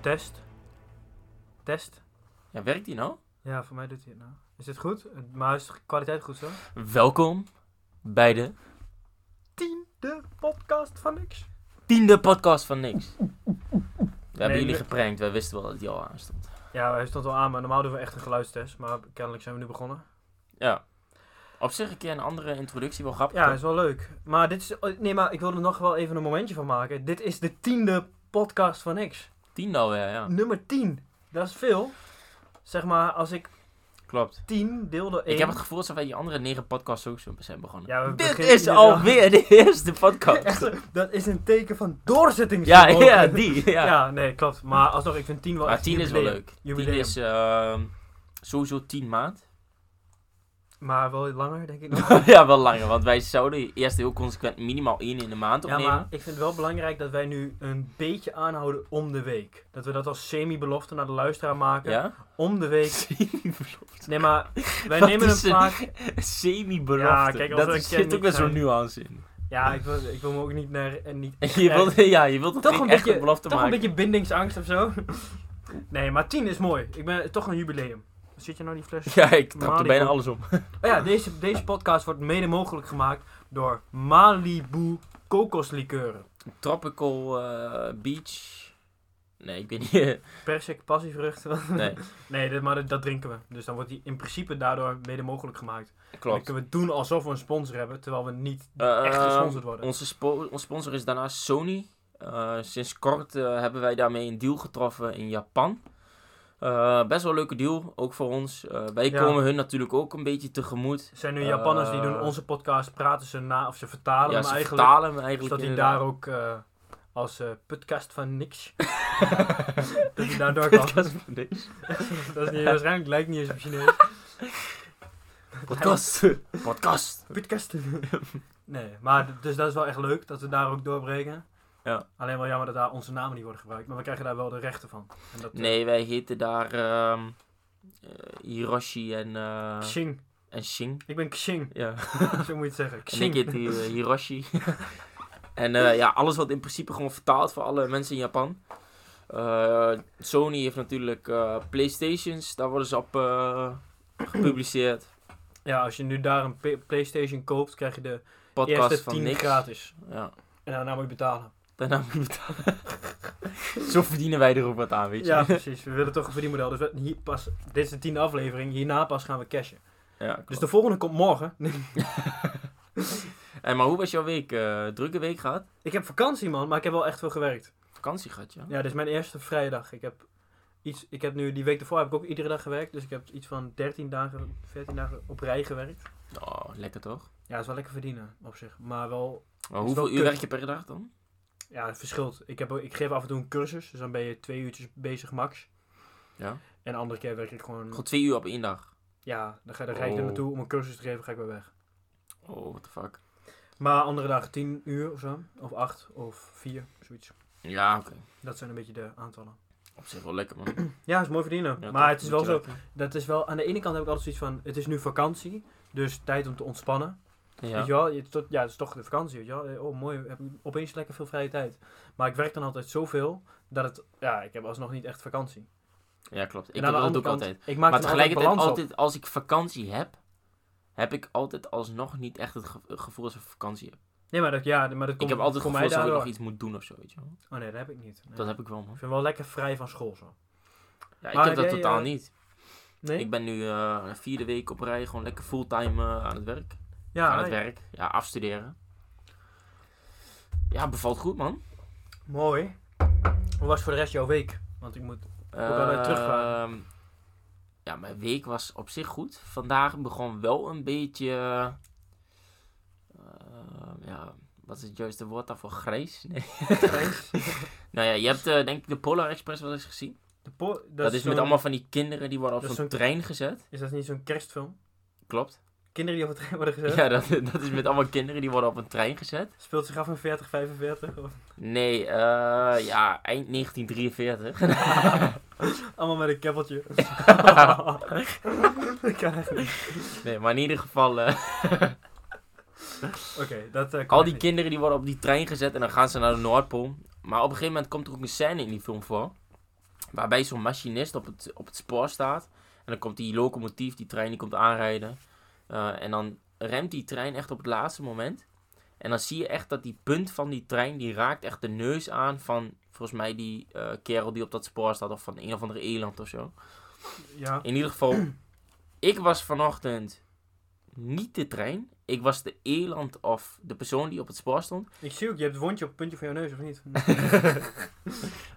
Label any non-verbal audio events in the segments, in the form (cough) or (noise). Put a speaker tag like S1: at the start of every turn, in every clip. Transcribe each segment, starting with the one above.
S1: Test. Test.
S2: Ja, werkt die nou?
S1: Ja, voor mij doet hij het nou. Is dit goed? Maar is de kwaliteit goed zo?
S2: Welkom bij de
S1: Tiende podcast van niks.
S2: tiende podcast van Niks. We hebben
S1: Nee,
S2: jullie
S1: we-
S2: geprankt, wij wisten wel dat die al aanstond.
S1: Ja, hij stond al aan, maar normaal doen we echt een geluidstest. Maar kennelijk zijn we nu begonnen.
S2: Ja. Op zich een keer een andere introductie, wel grappig.
S1: Ja,
S2: toch?
S1: is wel leuk. Maar dit is... oh, Nee, maar ik wil er nog wel even een momentje van maken. Dit is de tiende podcast van niks.
S2: Tiende alweer, ja.
S1: Nummer 10. Dat is veel. Zeg maar, als ik
S2: Klopt.
S1: 10 deel door 1...
S2: Ik
S1: (laughs)
S2: heb het gevoel alsof wij die andere negen podcasts ook zo zijn begonnen.
S1: Ja, we
S2: Dit
S1: beginnen
S2: is
S1: hier
S2: alweer de (laughs) eerste
S1: (laughs)
S2: podcast.
S1: Echt, dat is een teken van doorzetting. (laughs)
S2: Ja, ja, (laughs) die. Ja,
S1: Ja. nee, klopt. Maar alsnog, ik vind 10 wel
S2: maar
S1: echt
S2: tien is wel
S1: jubileum.
S2: leuk. Tien
S1: Jubileum.
S2: is ehm, sowieso tien maand.
S1: Maar wel langer, denk ik. nog.
S2: (laughs) ja, wel langer, want wij zouden eerst heel consequent minimaal één in de maand
S1: ja,
S2: opnemen.
S1: maar ik vind het wel belangrijk dat wij nu een beetje aanhouden om de week. Dat we dat als semi-belofte naar de luisteraar maken.
S2: Ja?
S1: Om de week.
S2: (laughs)
S1: (laughs) Nee, maar wij
S2: Wat
S1: nemen
S2: is
S1: hem
S2: een-
S1: vaak...
S2: Semi-belofte.
S1: Ja, kijk, als
S2: dat
S1: we
S2: is-
S1: een
S2: zit ook weer
S1: kennis
S2: zo'n
S1: zijn.
S2: nuance in.
S1: Ja, ik wil, ik wil me ook niet naar... En niet
S2: (laughs) Je wilt, ja, je wilt het
S1: Toch
S2: niet
S1: een
S2: echt
S1: beetje-
S2: een belofte
S1: Toch een
S2: maken.
S1: beetje bindingsangst of zo. (laughs) Nee, maar 10 is mooi. Ik ben toch een jubileum. Zit je nou die fles?
S2: (laughs) Ja, ik trap er
S1: Malibu.
S2: bijna alles om.
S1: Oh ja, deze, deze podcast wordt mede mogelijk gemaakt door Malibu kokoslikeuren.
S2: Tropical eh, Beach. Nee, ik weet niet. (laughs)
S1: Persik, passievrucht.
S2: nee,
S1: Nee, dit, maar dat, dat drinken we. Dus dan wordt die in principe daardoor mede mogelijk gemaakt. En Dan
S2: klopt.
S1: kunnen we doen alsof we een sponsor hebben, terwijl we niet
S2: Eh,
S1: echt gesponsord worden.
S2: Onze spo- ons sponsor is daarna Sony. Eh, sinds kort eh, hebben wij daarmee een deal getroffen in Japan. Eh, best wel een leuke deal, ook voor ons. Eh, wij
S1: Ja.
S2: komen hun natuurlijk ook een beetje tegemoet.
S1: Er zijn nu Japanners die doen
S2: Eh,
S1: onze podcast, praten ze na of ze vertalen
S2: ja,
S1: hem
S2: ze
S1: eigenlijk.
S2: vertalen hem eigenlijk.
S1: zodat hij
S2: inderdaad.
S1: daar ook eh, als eh, podcast van
S2: (laughs)
S1: niks. dat hij daar door kan.
S2: Podcast (laughs) van niks.
S1: dat is niet, waarschijnlijk lijkt niet eens op Chinees.
S2: (laughs) Podcast. (laughs) Podcast.
S1: Podcasten. nee, maar d- dus dat is wel echt leuk dat we daar ook doorbreken.
S2: Ja.
S1: Alleen wel jammer dat daar onze namen niet worden gebruikt, maar we krijgen daar wel de rechten van. En dat, eh,
S2: Nee, wij heten daar ehm, eh, Hiroshi en, eh,
S1: Xing.
S2: en Shing.
S1: Ik ben Xing,
S2: Ja. (laughs)
S1: (laughs) zo moet je het zeggen.
S2: En ik
S1: Xing.
S2: heet hier, (laughs) eh, Hiroshi. en eh, ja, alles wordt in principe gewoon vertaald voor alle mensen in Japan. Eh, Sony heeft natuurlijk eh, Playstations, daar worden ze op eh, gepubliceerd.
S1: Ja, als je nu daar een P- PlayStation koopt, krijg je de
S2: Podcast
S1: eerste
S2: van
S1: 10
S2: niks.
S1: gratis.
S2: Ja.
S1: En daarna moet je betalen.
S2: Daarna moet je betalen. (laughs) Zo verdienen wij er ook wat aan, weet je.
S1: Ja,
S2: (laughs)
S1: precies. We willen toch een verdienmodel. Dus we- hier pas, dit is de tiende aflevering. Hierna pas gaan we cashen.
S2: Ja,
S1: Dus
S2: klopt.
S1: de volgende komt morgen.
S2: Hey, maar hoe was jouw week? Eh, drukke week gehad?
S1: Ik heb vakantie, man, maar ik heb wel echt veel gewerkt.
S2: Vakantie gehad, ja?
S1: Ja, dit is mijn eerste vrije dag. Ik heb, iets, ik heb nu, die week ervoor heb ik ook iedere dag gewerkt. Dus ik heb iets van 13 dagen, 14 dagen op rij gewerkt.
S2: Oh, lekker toch?
S1: Ja, dat is wel lekker verdienen op zich. Maar wel,
S2: Maar
S1: Is wel
S2: hoeveel uur
S1: kut.
S2: werk je per dag dan?
S1: ja, het verschilt. Ik, heb, ook- ik geef af en toe een cursus, dus dan ben je twee uurtjes bezig max.
S2: Ja.
S1: En de andere keer werk ik gewoon...
S2: Goed, twee uur op één dag.
S1: Ja, dan, ga, dan rijd ik er
S2: Oh.
S1: naartoe om een cursus te geven, ga ik weer weg.
S2: Oh, what the fuck.
S1: Maar andere dagen 10 uur of zo. Of 8 of 4, zoiets.
S2: Ja, oké.
S1: Dat zijn een beetje de aantallen.
S2: Op zich wel
S1: (clears throat)
S2: lekker, man.
S1: Ja, is mooi verdienen.
S2: Ja,
S1: maar
S2: toch?
S1: het is
S2: Moet
S1: wel
S2: je
S1: zo.
S2: werken.
S1: Dat is wel, aan de ene kant heb ik altijd zoiets van: het is nu vakantie, dus tijd om te ontspannen.
S2: Ja.
S1: Weet je wel, je, tot, ja, het is toch de vakantie, weet je wel. Eh, Oh, mooi, heb ik opeens lekker veel vrije tijd. Maar ik werk dan altijd zoveel, dat het, ja, ik heb alsnog niet echt vakantie. En
S2: ja, klopt.
S1: aan
S2: Ik doe
S1: de
S2: dat
S1: andere
S2: ook
S1: kant,
S2: altijd.
S1: Ik maak
S2: Maar
S1: dan altijd
S2: tegelijkertijd,
S1: balans
S2: altijd,
S1: op.
S2: als ik vakantie heb, heb ik altijd alsnog niet echt het ge- gevoel alsof ik vakantie heb.
S1: Nee, maar dat, ja, maar dat komt
S2: ik heb altijd
S1: voor
S2: het
S1: mij
S2: gevoel alsof ik nog
S1: daardoor.
S2: iets moet doen of zo, weet je wel.
S1: Oh nee, dat heb ik niet. Nee.
S2: Dat heb ik wel, man.
S1: Ik vind wel lekker vrij van school zo.
S2: Ja, ik
S1: Maar heb
S2: heb dat
S1: jij,
S2: totaal
S1: eh,
S2: niet.
S1: Nee?
S2: Ik ben nu eh, vierde week op rij gewoon lekker fulltime eh, aan het werk.
S1: ja,
S2: aan het
S1: nee.
S2: werk. Ja, afstuderen. Ja, bevalt goed, man.
S1: mooi. Hoe was voor de rest jouw week? Want ik
S2: (laughs)
S1: moet... Hoewel wij terugvaren.
S2: Ehm, ja, mijn week was op zich goed. Vandaag begon wel een beetje. ehm, ja, wat is het juiste woord daarvoor? Grijs? (laughs) Nee. nou ja, je hebt eh, denk ik de Polar Express wel eens gezien.
S1: De po- dat,
S2: Dat, is met
S1: zo'n-
S2: allemaal van die kinderen die worden op
S1: dat is
S2: zo'n
S1: zo'n-
S2: trein gezet.
S1: Is dat niet zo'n kerstfilm?
S2: Klopt.
S1: Kinderen die op het trein worden gezet?
S2: (laughs) Ja, dat, dat is met allemaal kinderen die worden op een trein gezet.
S1: Speelt zich af in 40, 45?
S2: (laughs)
S1: Of... (laughs)
S2: Nee, eh, ja, eind 1943.
S1: Allemaal met een keppeltje. (laughs) Dat kan echt niet.
S2: (laughs) nee, maar in ieder geval. eh,
S1: Oké, dat eh, kan
S2: Al
S1: echt
S2: die
S1: niet.
S2: kinderen die worden op die trein gezet en dan gaan ze naar de Noordpool. Maar op een gegeven moment komt er ook een scène in die film voor. Waarbij zo'n machinist op het, op het spoor staat. En dan komt die locomotief, die trein, die komt aanrijden. Eh, en dan remt die trein echt op het laatste moment. En dan zie je echt dat die punt van die trein, die raakt echt de neus aan van, volgens mij, die eh, kerel die op dat spoor staat. Of van een of andere eland of zo.
S1: Ja.
S2: In ieder geval, ik was vanochtend niet de trein. Ik was de eland of de persoon die op het spoor stond.
S1: Ik zie ook, je hebt een wondje op het puntje van jouw neus, of
S2: (laughs)
S1: niet?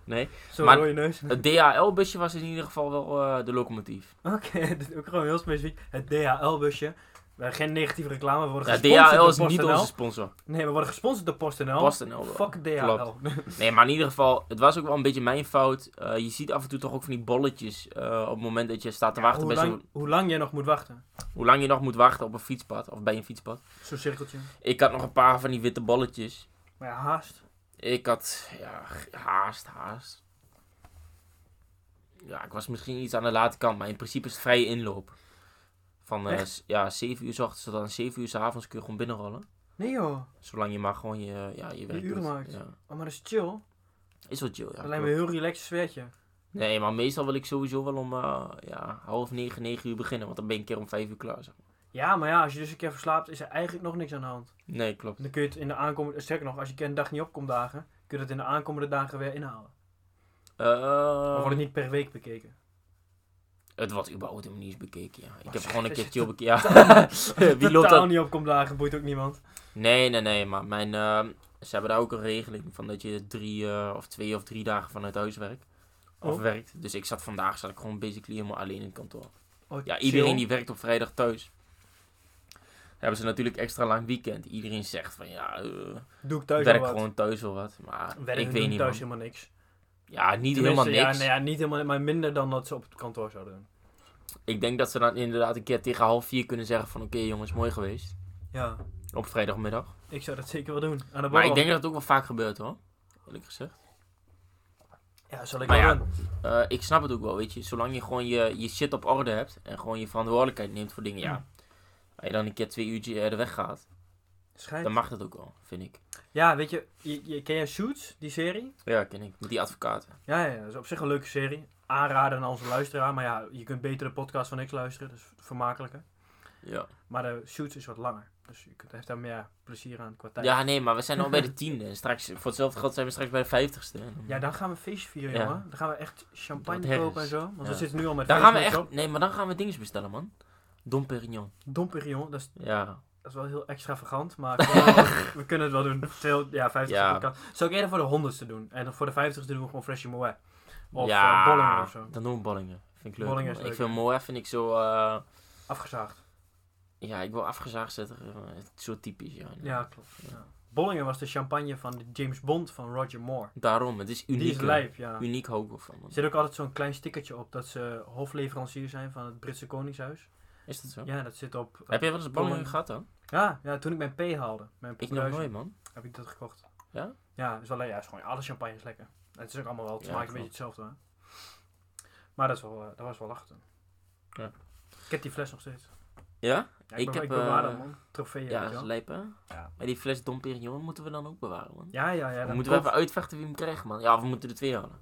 S2: Nee,
S1: Zo'n
S2: maar-
S1: rode neus.
S2: (laughs) Het DHL-busje was in ieder geval wel eh, de locomotief.
S1: Oké, (laughs) dit is ook gewoon heel specifiek. Het DHL-busje. Eh, geen negatieve reclame, we worden
S2: Ja,
S1: gesponsord
S2: DHL is
S1: door
S2: niet
S1: PostNL.
S2: onze sponsor.
S1: Nee, we worden gesponsord door PostNL.
S2: PostNL wel.
S1: Oh, Fuck DHL. (laughs)
S2: Nee, maar in ieder geval, het was ook wel een beetje mijn fout. Eh, je ziet af en toe toch ook van die bolletjes eh, op het moment dat je staat te wachten
S1: hoe,
S2: bij
S1: lang,
S2: zo'n...
S1: hoe lang jij nog moet wachten?
S2: Hoe lang je nog moet wachten op een fietspad, of bij een fietspad.
S1: Zo'n cirkeltje.
S2: Ik had nog een paar van die witte bolletjes.
S1: Maar ja, haast.
S2: Ik had ja, g- haast, haast. Ja, ik was misschien iets aan de late kant, maar in principe is het vrije inloop. Van eh,
S1: Echt?
S2: s- ja, 7 uur 's ochtends tot aan 7 uur 's avonds kun je gewoon binnenrollen.
S1: Nee joh.
S2: Zolang je maar gewoon je, ja, je werk
S1: uren
S2: doet.
S1: maakt.
S2: Ja.
S1: Oh, maar dat is chill.
S2: Is wel chill, ja.
S1: dat lijkt me
S2: klopt.
S1: een heel relaxed sfeertje.
S2: Nee, maar meestal wil ik sowieso wel om eh, ja, half negen, negen uur beginnen. Want dan ben ik een keer om vijf uur klaar. Zeg maar.
S1: Ja, maar ja, als je dus een keer verslaapt, is er eigenlijk nog niks aan de hand.
S2: Nee, klopt.
S1: Dan kun je het in de aankomende... Sterker nog, als je een keer een dag niet opkomt dagen, kun je het in de aankomende dagen weer inhalen.
S2: Eh,
S1: Dan wordt
S2: Ehm.
S1: het niet per week bekeken.
S2: Het wordt überhaupt helemaal niet eens bekeken, ja. Ik heb
S1: zeg,
S2: gewoon een
S1: is
S2: keer
S1: het
S2: chill
S1: (laughs)
S2: bekeken. Ja. (laughs) Wie loopt
S1: Totaal
S2: dat?
S1: niet opkomt dagen, boeit ook niemand.
S2: Nee, nee, nee. Maar mijn, ehm, ze hebben daar ook een regeling van dat je drie eh, of twee of drie dagen vanuit huis werkt. Of
S1: Oh.
S2: werkt. Dus ik zat vandaag zat ik gewoon basically helemaal alleen in het kantoor.
S1: Oh,
S2: Ja,
S1: chill.
S2: iedereen die werkt op vrijdag thuis. Dan hebben ze natuurlijk extra lang weekend. Iedereen zegt van ja, eh,
S1: Doe ik thuis
S2: werk
S1: wel wat.
S2: gewoon thuis wel wat. Maar
S1: Werken
S2: ik
S1: doen
S2: weet niet.
S1: thuis
S2: man.
S1: helemaal niks.
S2: Ja, niet
S1: Tenminste,
S2: helemaal niks.
S1: Ja, nou ja, niet helemaal, maar minder dan dat ze op het kantoor zouden doen.
S2: Ik denk dat ze dan inderdaad een keer tegen half vier kunnen zeggen van oké jongens, mooi geweest.
S1: Ja,
S2: Op vrijdagmiddag.
S1: ik zou dat zeker wel doen. Aan de
S2: Maar
S1: borrel.
S2: ik denk dat het ook wel vaak gebeurt hoor. Eerlijk gezegd.
S1: Ja, zal ik
S2: Maar
S1: wel
S2: ja.
S1: doen.
S2: Eh, ik snap het ook wel, weet je. Zolang je gewoon je, je shit op orde hebt en gewoon je verantwoordelijkheid neemt voor dingen, ja.
S1: Hm.
S2: Als je dan een keer twee uurtje eerder weggaat,
S1: Schijt.
S2: dan mag dat ook wel, vind ik.
S1: Ja, weet je, je, je- ken jij Suits, die serie?
S2: Ja, ken ik. Met die advocaten.
S1: Ja, ja, dat is op zich een leuke serie. Aanraden aan onze luisteraar, maar ja, je kunt beter de podcast van niks luisteren, dat is vermakelijker.
S2: Ja.
S1: Maar de Suits is wat langer, dus je kunt, heeft daar meer plezier aan qua tijd.
S2: ja, nee, maar we zijn al bij
S1: (laughs)
S2: de tiende. En straks, voor hetzelfde geld zijn we straks bij de vijftigste.
S1: Ja, dan gaan we een feestje vieren,
S2: Ja.
S1: jongen. Dan gaan we echt
S2: Dat
S1: champagne
S2: herres.
S1: kopen en zo. Want we
S2: Ja.
S1: zitten nu al met
S2: Dan gaan we
S1: feestjes
S2: echt... Nee, maar dan gaan we dingen bestellen, man. Dom Perignon.
S1: op. Domperion, dat is
S2: Ja.
S1: Dat is wel heel extravagant, maar we- we kunnen het wel doen. Veel, ja, 50
S2: Ja.
S1: podcast. Zou ik eerder voor de 100ste doen? En dan voor de 50ste doen we gewoon Freshie Moe. Of
S2: ja,
S1: eh, Bollingen of zo.
S2: Dan doen we Bollingen. Vind ik leuk.
S1: Bollingen is
S2: ik
S1: leuk,
S2: vind
S1: ja.
S2: mooi, vind ik zo... eh,
S1: Afgezaagd.
S2: ja, ik wil afgezaagd zetten. eh, Zo typisch, ja.
S1: Ja, klopt. Ja. Bollingen was de champagne van de James Bond van Roger Moore.
S2: Daarom, het is uniek.
S1: Die is
S2: hè.
S1: lijp, ja.
S2: Uniek hou ik wel van, man.
S1: Er zit ook altijd zo'n klein stickertje op dat ze hofleverancier zijn van het Britse Koningshuis.
S2: Is dat zo?
S1: Ja, dat zit op...
S2: Heb jij wel eens Bollingen
S1: Bollingen.
S2: gehad dan?
S1: Ja, ja, toen ik mijn P haalde, mijn
S2: Ik nog
S1: bruisje,
S2: nooit, man.
S1: heb ik dat gekocht.
S2: Ja?
S1: Ja, is wel, le- ja, is gewoon, alle champagne is lekker. Het is ook allemaal wel, het
S2: Ja,
S1: smaakt een beetje
S2: klopt.
S1: hetzelfde. Hè? Maar dat, is wel, eh, dat was wel lachen.
S2: Ja.
S1: Ik heb die fles nog steeds.
S2: Ja?
S1: Ja,
S2: Ik
S1: ik,
S2: heb,
S1: heb, ik bewaar
S2: eh,
S1: dat, man. Trofeeën, weet
S2: Ja, dat
S1: je
S2: is
S1: wel.
S2: lijp, hè?
S1: Ja.
S2: Maar die fles Dom Perignon moeten we dan ook bewaren, man.
S1: Ja, ja, ja.
S2: we
S1: Dan,
S2: moeten we
S1: koop-
S2: even uitvechten wie hem krijgt, man. Ja, of we moeten er twee halen.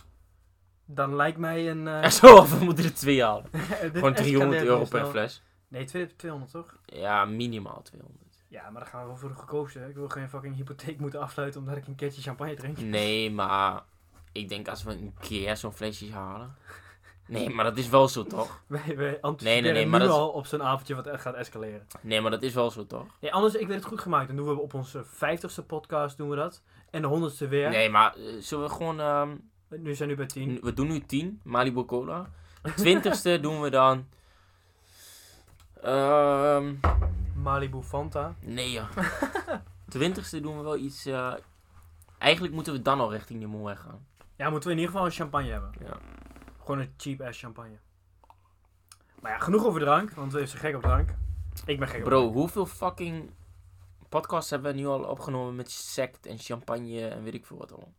S1: dan lijkt mij een... eh, (laughs)
S2: Echt (laughs) zo, of we moeten er twee halen.
S1: dit
S2: Gewoon
S1: escaleert
S2: 300
S1: heel
S2: euro per
S1: snel.
S2: fles.
S1: Nee, twee- 200 toch?
S2: Ja, minimaal (laughs) 200.
S1: Ja, maar dan gaan we wel voor de goedkoopste. hè. Ik wil geen fucking hypotheek moeten afsluiten omdat ik een keertje champagne drink.
S2: Nee, maar ik denk als we een keer zo'n flesje halen. Nee, maar dat is wel zo, toch?
S1: (laughs) Wij, wij anticiperen
S2: nee,
S1: nu
S2: maar dat is-
S1: al op zo'n avondje wat echt gaat escaleren.
S2: Nee, maar dat is wel zo, toch?
S1: Nee, anders, ik weet het goed gemaakt. Dan doen we op onze 50ste podcast doen we dat. En de 100ste weer.
S2: Nee, maar eh, zullen we gewoon... ehm,
S1: Nu zijn we bij 10.
S2: we doen nu 10, Malibu Cola. (laughs) 20ste doen we dan... Ehm...
S1: Malibu Fanta.
S2: Nee, ja. (laughs) Twintigste doen we wel iets. eh, Eigenlijk moeten we dan al richting de Moerweg gaan.
S1: Ja, moeten we in ieder geval een champagne hebben.
S2: Ja.
S1: Gewoon een cheap ass champagne. Maar ja, genoeg over drank, want we zijn gek op drank. Ik ben gek op
S2: Bro,
S1: drank.
S2: hoeveel fucking podcasts hebben we nu al opgenomen met sect en champagne en weet ik veel wat allemaal?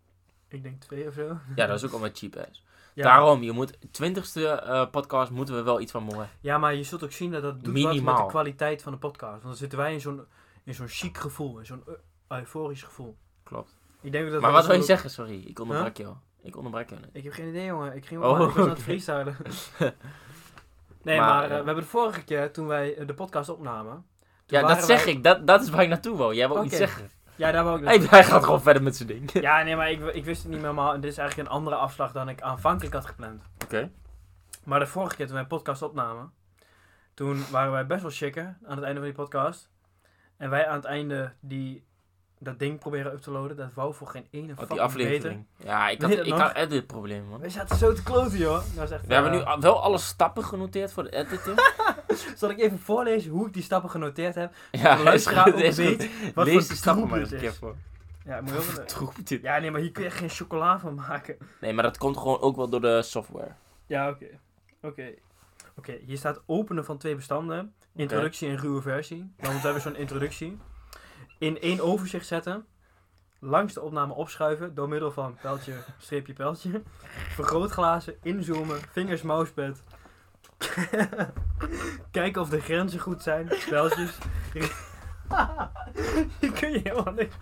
S1: Ik denk twee of zo.
S2: Ja, dat is ook allemaal cheap ass.
S1: Ja,
S2: Daarom, je moet. Twintigste eh, podcast moeten we wel iets van Moerweg.
S1: ja maar je zult ook zien dat dat doet wat met
S2: Minimaal.
S1: de kwaliteit van de podcast. Want dan zitten wij in zo'n, in zo'n chic gevoel, in zo'n eu- euforisch gevoel.
S2: Klopt.
S1: Ik denk dat
S2: maar
S1: we
S2: wat wil je
S1: ook-
S2: zeggen? Sorry, ik onderbrak je al. Ik Ik onderbreek jou net.
S1: Ik heb geen idee, jongen. Ik ging
S2: Oh,
S1: maar- ik was aan het
S2: oké.
S1: freestylen.
S2: (laughs)
S1: nee, maar,
S2: Maar,
S1: eh,
S2: eh,
S1: we hebben de vorige keer, toen wij eh, de podcast opnamen... toen
S2: Ja, dat
S1: waren
S2: zeg
S1: wij-
S2: ik. Dat, dat is waar ik naartoe wou. Jij wou iets
S1: Oké.
S2: zeggen.
S1: Ja, daar wou ik
S2: Hij,
S1: naartoe.
S2: hij gaat gewoon verder met zijn
S1: (laughs)
S2: ding. Oh, Oké.
S1: Ja, nee, maar ik, w- ik wist het niet meer, maar dit is eigenlijk een andere afslag dan ik aanvankelijk had gepland. Maar de vorige keer toen wij een podcast opnamen, toen waren wij best wel chicken aan het einde van die podcast. En wij aan het einde die, dat ding proberen up te loaden, dat wou voor geen ene
S2: Wat Oh, die
S1: fucking
S2: aflevering. Ja, ik
S1: Weet
S2: had,
S1: je dat
S2: ik
S1: nog?
S2: had editproblemen,
S1: beter.
S2: man.
S1: Wij zaten zo te kloten, joh. Dat was echt,
S2: We hebben nu
S1: eh,
S2: al- wel alle stappen genoteerd voor de
S1: (laughs)
S2: editor.
S1: Zal ik even voorlezen hoe ik die stappen genoteerd heb?
S2: ja,
S1: de
S2: (laughs)
S1: luisteraar
S2: is-
S1: ook
S2: is-
S1: weet wat
S2: Lees
S1: voor
S2: de stappen
S1: troep
S2: maar
S1: het
S2: eens een
S1: is.
S2: keer voor.
S1: Ja, moet je (laughs) ook-
S2: Troep dit.
S1: ja, nee, maar hier kun je echt geen chocola van maken.
S2: Nee, maar dat komt gewoon ook wel door de software. (laughs)
S1: Ja, oké. Oké. Oké, hier staat openen van twee bestanden. Introductie en ruwe versie. Dan moeten we zo'n introductie. In één overzicht zetten. Langs de opname opschuiven door middel van (laughs) pijltje, streepje, pijltje. Vergrootglazen, inzoomen, vingers, mousepad. (laughs) Kijken of de grenzen goed zijn, (laughs) pijltjes. Hier kun je helemaal niks.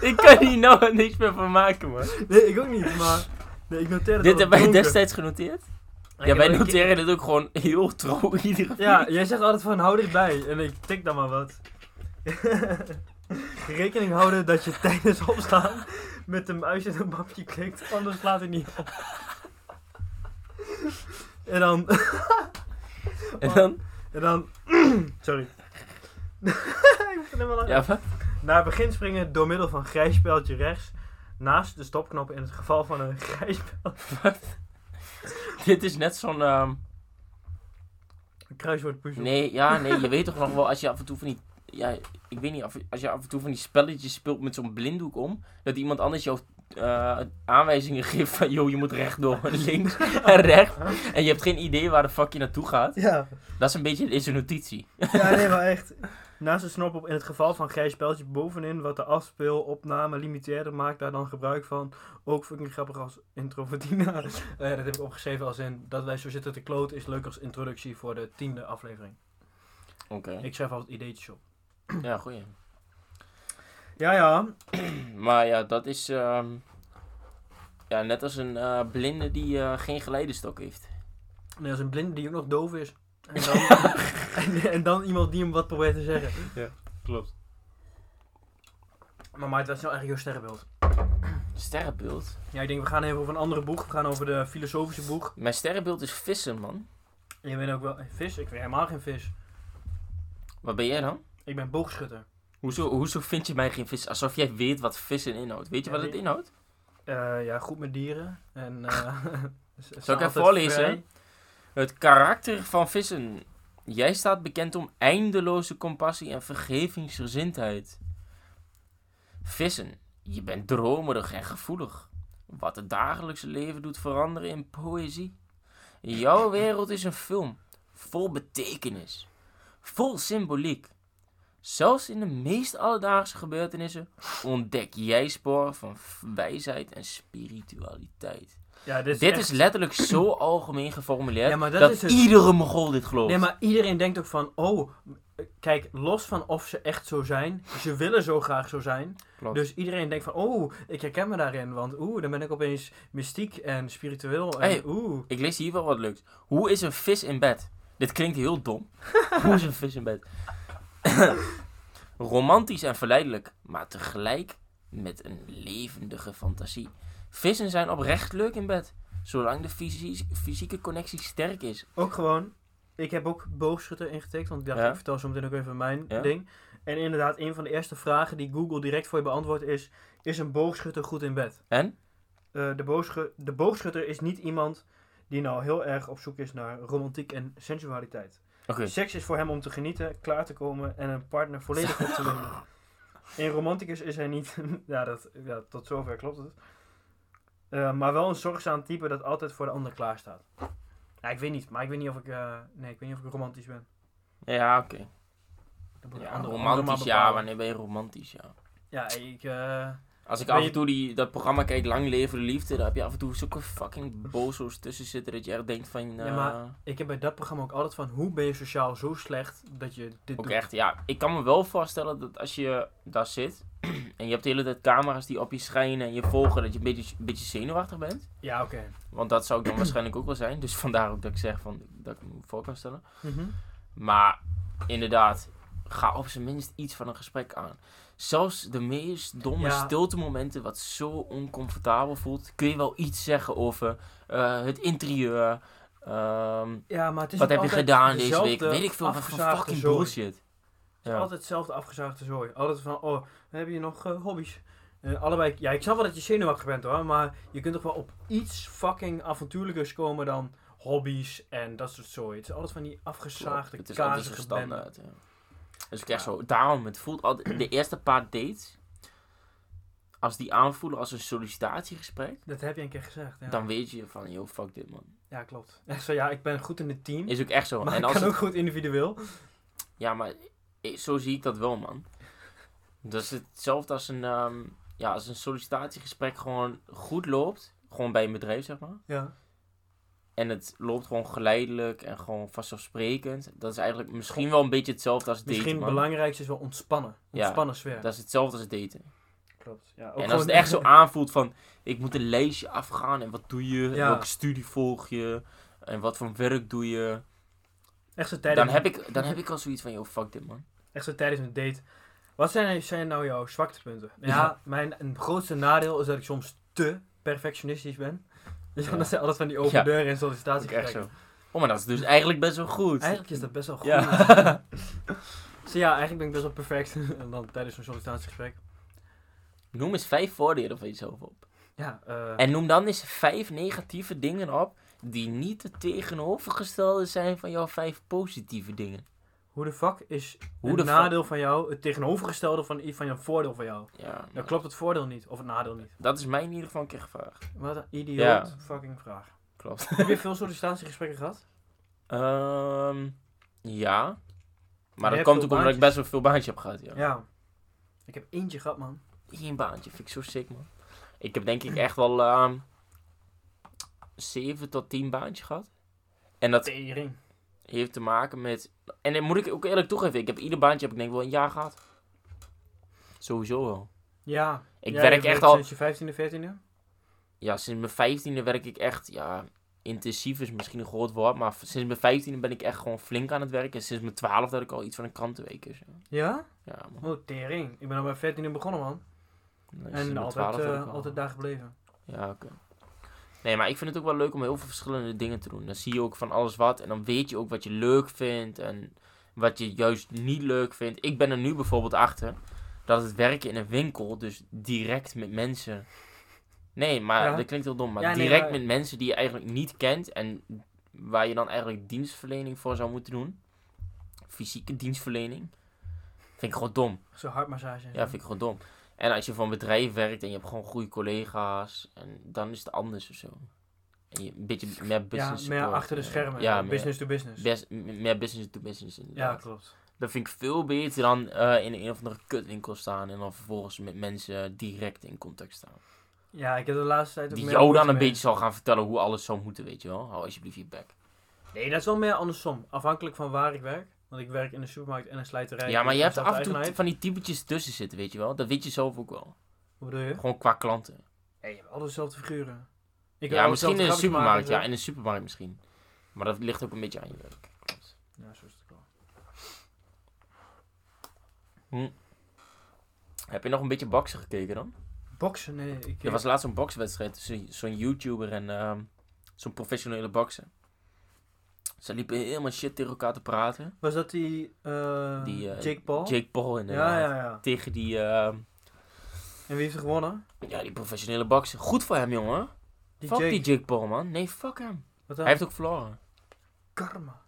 S2: ik kan hier nou niks meer van maken, man.
S1: Nee, ik ook niet, maar... Nee, ik noteer het
S2: Dit
S1: wel
S2: hebben wij
S1: dronken.
S2: destijds genoteerd.
S1: Ik
S2: ja,
S1: heb
S2: wij
S1: ook een keer-
S2: noteren dit ook gewoon heel trouw iedere
S1: Ja, jij zegt altijd van hou dichtbij en ik tik dan maar wat. (laughs) Rekening houden dat je tijdens opstaan met de muis in een mapje klikt, anders slaat hij niet op. En dan,
S2: En dan...
S1: en dan, (clears throat) sorry. (laughs) ik moet er helemaal lachen.
S2: Ja, wat?
S1: Naar het begin springen door middel van grijs speeltje rechts, naast de stopknop in het geval van een grijs
S2: Dit is net zo'n... ehm,
S1: kruiswoordpuzzel.
S2: Nee, ja, nee, je weet toch nog wel als je af en toe van die... Ja, ik weet niet, af- als je af en toe van die spelletjes speelt met zo'n blinddoek om, dat iemand anders jou eh, aanwijzingen geeft van, joh, je moet rechtdoor, (laughs) links en rechts. En je hebt geen idee waar de fuck je naartoe gaat.
S1: Ja.
S2: Dat is een beetje deze notitie.
S1: Ja, nee, maar echt. Naast de snop op in het geval van grijs speltje bovenin, wat de afspeelopname limiteerde, maak daar dan gebruik van. Ook fucking grappig als intro voor (laughs) Tina. Eh, dat heb ik opgeschreven als in dat wij zo zitten te kloot is leuk als introductie voor de tiende aflevering.
S2: Oké.
S1: Ik schrijf altijd ideetjes op.
S2: Ja, goeie.
S1: Ja, ja.
S2: (clears throat) Maar ja, dat is ehm, ja, net als een eh, blinde die eh, geen geleiderstok heeft.
S1: Nee, als een blinde die ook nog doof is. En dan, (laughs) en, en dan iemand die hem wat probeert te zeggen.
S2: Klopt.
S1: Maar Maarten, dat is nou eigenlijk jouw sterrenbeeld.
S2: Sterrenbeeld?
S1: Ja, ik denk we gaan even over een andere boeg. We gaan over de filosofische boeg.
S2: Mijn sterrenbeeld is vissen, man.
S1: En je bent ook wel... Vis? Ik ben helemaal geen vis.
S2: Wat ben jij dan?
S1: Ik ben boogschutter.
S2: Hoezo, hoezo vind je mij geen vis? Alsof jij weet wat vissen inhoudt. Weet je
S1: Ja,
S2: wat het
S1: die-
S2: inhoudt?
S1: Eh, ja, goed met dieren. En, eh, (laughs) ze staan
S2: Zal ik even
S1: altijd
S2: voorlezen?
S1: vrij.
S2: Het karakter van vissen. Jij staat bekend om eindeloze compassie en vergevingsgezindheid. Vissen, je bent dromerig en gevoelig. Wat het dagelijkse leven doet veranderen in poëzie. Jouw wereld is een film, vol betekenis, vol symboliek. Zelfs in de meest alledaagse gebeurtenissen ontdek jij sporen van v- wijsheid en spiritualiteit.
S1: Ja, dit is,
S2: Dit
S1: echt-
S2: is letterlijk zo (clears throat) algemeen geformuleerd
S1: Ja, maar dat
S2: dat,
S1: is het.
S2: iedere mogol dit gelooft.
S1: Nee, maar iedereen denkt ook van, oh, kijk, los van of ze echt zo zijn, ze willen zo graag zo zijn.
S2: Klopt.
S1: Dus iedereen denkt van, oh, ik herken me daarin, want oeh, dan ben ik opeens mystiek en spiritueel en
S2: Hey.
S1: oeh.
S2: Ik lees hier wel wat leuks. Hoe is een vis in bed? Dit klinkt
S1: (laughs)
S2: heel dom. Hoe is een vis in bed? (clears throat) Romantisch en verleidelijk, maar tegelijk met een levendige fantasie. Vissen zijn oprecht leuk in bed, zolang de fysie- fysieke connectie sterk is.
S1: Ook gewoon, ik heb ook boogschutter ingetikt, want ik dacht,
S2: Ja.
S1: ik vertel zo meteen ook even mijn
S2: Ja.
S1: ding. En inderdaad, een van de eerste vragen die Google direct voor je beantwoordt is, is een boogschutter goed in bed?
S2: En?
S1: Eh, de, boogschu- de boogschutter is niet iemand die nou heel erg op zoek is naar romantiek en sensualiteit.
S2: Oké,
S1: Seks is voor hem om te genieten, klaar te komen en een partner volledig op
S2: (laughs)
S1: te nemen. Een romanticus is hij niet. (laughs) ja, dat, ja, tot zover klopt het. Eh, maar wel een zorgzaam type dat altijd voor de ander klaar staat. Ja, ik weet niet, maar ik weet niet of ik, eh, nee, ik, weet niet of ik romantisch ben.
S2: ja, oké.
S1: Dat moet een
S2: Ja,
S1: andere- andere maar
S2: romantisch, ja,
S1: bepalen.
S2: wanneer ben je romantisch, ja.
S1: Ja, ik, eh,
S2: Als ik
S1: Ben
S2: af en
S1: je-
S2: toe die, dat programma kijk, Lang Leven de Liefde, daar heb je af en toe zulke fucking bozo's tussen zitten dat je echt denkt van...
S1: Ja,
S2: eh,
S1: maar- Ik heb bij dat programma ook altijd van, hoe ben je sociaal zo slecht dat je dit
S2: Ook
S1: doet?
S2: echt, ja. Ik kan me wel voorstellen dat als je daar zit (clears throat) en je hebt de hele tijd camera's die op je schijnen en je volgen, dat je een beetje, een beetje zenuwachtig bent.
S1: Ja, oké.
S2: Want dat zou
S1: (clears throat)
S2: ik dan waarschijnlijk ook wel zijn. Dus vandaar ook dat ik zeg van, dat ik me voor kan stellen.
S1: Mhm.
S2: Maar inderdaad, ga op zijn minst iets van een gesprek aan. Zelfs de meest domme
S1: Ja.
S2: stiltemomenten, wat zo oncomfortabel voelt, kun je wel iets zeggen over eh, het interieur. ehm,
S1: Ja, maar het is
S2: wat
S1: ook
S2: heb je
S1: altijd
S2: gedaan deze week?
S1: dezelfde
S2: Weet ik veel, wat voor
S1: afgezaagde
S2: fucking
S1: zooi.
S2: bullshit.
S1: Het is
S2: Ja.
S1: Altijd hetzelfde afgezaagde zooi. Altijd van, oh, heb je nog eh, hobby's? Eh, allebei, ja, ik snap wel dat je zenuwachtig bent hoor, maar je kunt toch wel op iets fucking avontuurlijkers komen dan hobby's en dat soort zooi. Het is altijd van die afgezaagde,
S2: Het is altijd zo
S1: kazige benden.
S2: standaard. Ja. Dus ik echt zo, daarom, het voelt altijd, de eerste paar dates, als die aanvoelen als een sollicitatiegesprek,
S1: Dat heb je een keer gezegd, ja.
S2: dan weet je van, yo, fuck dit man.
S1: Ja, klopt. (laughs) Echt zo, ja, ik ben goed in het team,
S2: Is ook echt zo.
S1: Hm? maar
S2: en
S1: ik
S2: als
S1: kan
S2: het-
S1: ook goed individueel.
S2: Ja, maar i- zo zie ik dat wel, man. Dat is hetzelfde als een, ehm, ja, als een sollicitatiegesprek gewoon goed loopt. Gewoon bij een bedrijf, zeg maar.
S1: Ja.
S2: En het loopt gewoon geleidelijk en gewoon vanzelfsprekend. Dat is eigenlijk misschien wel een beetje hetzelfde als daten,
S1: Misschien het
S2: man.
S1: belangrijkste is wel ontspannen.
S2: Ja.
S1: Ontspannen sfeer.
S2: Dat is hetzelfde als daten.
S1: klopt. Ja, ook
S2: en
S1: gewoon-
S2: als het echt zo aanvoelt van... Ik moet een lijstje afgaan en wat doe je?
S1: Ja.
S2: Welke studie volg je? En wat voor werk doe je?
S1: echt zo tijdens
S2: Dan heb, ik, dan heb ik al zoiets van... Yo, fuck dit, man.
S1: Echt zo tijdens een date. Wat zijn, zijn nou jouw zwaktepunten? Ja,
S2: Ja.
S1: mijn een grootste nadeel is dat ik soms te perfectionistisch ben. (laughs) Dus
S2: Ja.
S1: dat zijn altijd van die open
S2: Ja.
S1: deuren en
S2: Dat is echt
S1: sollicitatiegesprekken.
S2: zo. Oh, maar dat is dus eigenlijk best wel goed.
S1: Eigenlijk is dat best wel goed.
S2: Ja.
S1: (laughs) Dus ja, eigenlijk ben ik best wel perfect. (laughs) en dan tijdens zo'n sollicitatiegesprek.
S2: Noem eens vijf voordelen van jezelf op.
S1: Ja, eh,
S2: En noem dan eens vijf negatieve dingen op die niet het tegenovergestelde zijn van jouw vijf positieve dingen.
S1: hoe de fuck is
S2: Hoe
S1: het
S2: de fuck-
S1: nadeel van jou het tegenovergestelde van, i- van jouw voordeel van jou?
S2: Ja,
S1: Dan klopt het voordeel niet, of het nadeel niet.
S2: dat is mij in ieder geval een keer gevraagd.
S1: Wat een idioot
S2: Ja.
S1: fucking vraag.
S2: Klopt. (laughs)
S1: Heb je veel sollicitatiegesprekken gehad?
S2: Ehm, ja. Maar
S1: Je
S2: dat
S1: hebt
S2: komt
S1: veel
S2: ook omdat ik
S1: baantjes.
S2: best wel veel baantje heb gehad, ja.
S1: Ja. Ik heb eentje gehad, man.
S2: Eén baantje, vind ik zo sick, man. Ik heb denk ik echt wel ehm zeven tot tien baantjes gehad. En dat
S1: Tering.
S2: heeft te maken met... En dan moet ik ook eerlijk toegeven, ik heb ieder baantje heb ik denk ik wel een jaar gehad. Sowieso wel.
S1: Ja.
S2: Ik
S1: Ja,
S2: werk
S1: je
S2: echt
S1: werkt
S2: al.
S1: Sinds je 15e, 14e?
S2: Ja, sinds mijn vijftiende werk ik echt. Ja, intensief is misschien een groot woord. Maar v- sinds mijn vijftiende ben ik echt gewoon flink aan het werken. En sinds mijn twaalfde had ik al iets van een krantenweek. Dus, ja.
S1: Ja?
S2: ja, man.
S1: Oh, tering. Ik ben al bij 14e begonnen, man.
S2: Nee, sinds
S1: en
S2: mijn
S1: altijd,
S2: twaalfde had
S1: eh,
S2: ik al-
S1: altijd daar gebleven.
S2: Ja, oké. Nee, maar ik vind het ook wel leuk om heel veel verschillende dingen te doen. Dan zie je ook van alles wat. En dan weet je ook wat je leuk vindt. En wat je juist niet leuk vindt. Ik ben er nu bijvoorbeeld achter dat het werken in een winkel, dus direct met mensen. Nee, maar
S1: Ja.
S2: dat klinkt heel dom. Maar
S1: Ja, nee,
S2: direct
S1: maar-
S2: met mensen die je eigenlijk niet kent. En waar je dan eigenlijk dienstverlening voor zou moeten doen. Fysieke dienstverlening. Vind ik gewoon dom.
S1: Zo hartmassage. en zo.
S2: Ja, vind ik gewoon dom. En als je voor een bedrijf werkt en je hebt gewoon goede collega's, en dan is het anders of zo. En je, een beetje meer business
S1: ja, meer
S2: support,
S1: achter de
S2: eh,
S1: schermen.
S2: Ja, meer
S1: business to business.
S2: bes- m- meer business to business
S1: ja,
S2: inderdaad.
S1: klopt.
S2: dat vind ik veel beter dan eh, in een of andere kutwinkel staan en dan vervolgens met mensen direct in contact staan.
S1: Ja, ik heb de laatste tijd ook
S2: Die
S1: meer
S2: jou dan
S1: moeite
S2: een
S1: mee.
S2: beetje zal gaan vertellen hoe alles zou moeten, weet je wel. Hou alsjeblieft je bek.
S1: Nee, dat is wel meer andersom. Afhankelijk van waar ik werk. Want ik werk in een supermarkt en een slijterij.
S2: Ja, maar je hebt af en toe
S1: Zelfde-eigenheid.
S2: van die typetjes tussen zitten, weet je wel. Dat weet je zelf ook wel.
S1: Hoe bedoel je?
S2: Gewoon qua klanten.
S1: Nee, je hebt altijd dezelfde figuren. Ik wil
S2: ja,
S1: altijd dezelfde
S2: misschien in een
S1: grapjes
S2: supermarkt. Ja,
S1: maken
S2: in een supermarkt misschien. Maar dat ligt ook een beetje aan je werk.
S1: en zo. Ja, zo is het wel.
S2: Heb je nog een beetje boksen gekeken dan?
S1: Boksen? Nee, ik...
S2: Er was laatst zo'n bokswedstrijd tussen zo'n YouTuber en ehm, zo'n professionele bokser. Ze liepen helemaal shit tegen elkaar te praten.
S1: Was dat die... eh,
S2: Die, eh,
S1: Jake Paul?
S2: Jake Paul inderdaad.
S1: ja, ja, ja.
S2: Tegen die, ehm,
S1: En wie heeft er gewonnen?
S2: ja, die professionele bokser. Goed voor hem, jongen.
S1: Die
S2: fuck
S1: Jake.
S2: die Jake Paul, man. Nee, fuck hem.
S1: Wat
S2: Hij
S1: dan?
S2: heeft ook verloren.
S1: karma.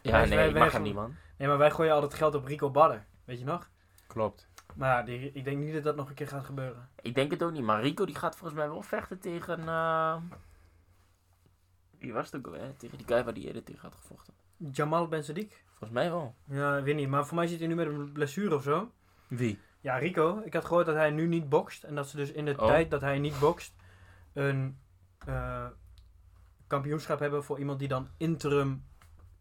S2: Ja,
S1: Wij-
S2: nee,
S1: wij-
S2: ik
S1: wij
S2: mag hem
S1: gaan-
S2: niet, man.
S1: Nee, maar wij gooien altijd geld op Rico Badder. Weet je nog?
S2: Klopt.
S1: Maar ja, die, ik denk niet dat dat nog een keer gaat gebeuren.
S2: Ik denk het ook niet, maar Rico die gaat volgens mij wel vechten tegen... ehm, Wie was het ook alweer? Tegen die guy waar die eerder tegen had gevochten.
S1: Jamal Ben Sadiq?
S2: Volgens mij wel.
S1: Ja, ik weet niet. Maar voor mij zit hij nu met een blessure of zo.
S2: Wie?
S1: Ja, Rico, ik had gehoord dat hij nu niet bokst. En dat ze dus in de
S2: Oh.
S1: tijd dat hij niet bokst, een eh, kampioenschap hebben voor iemand die dan interim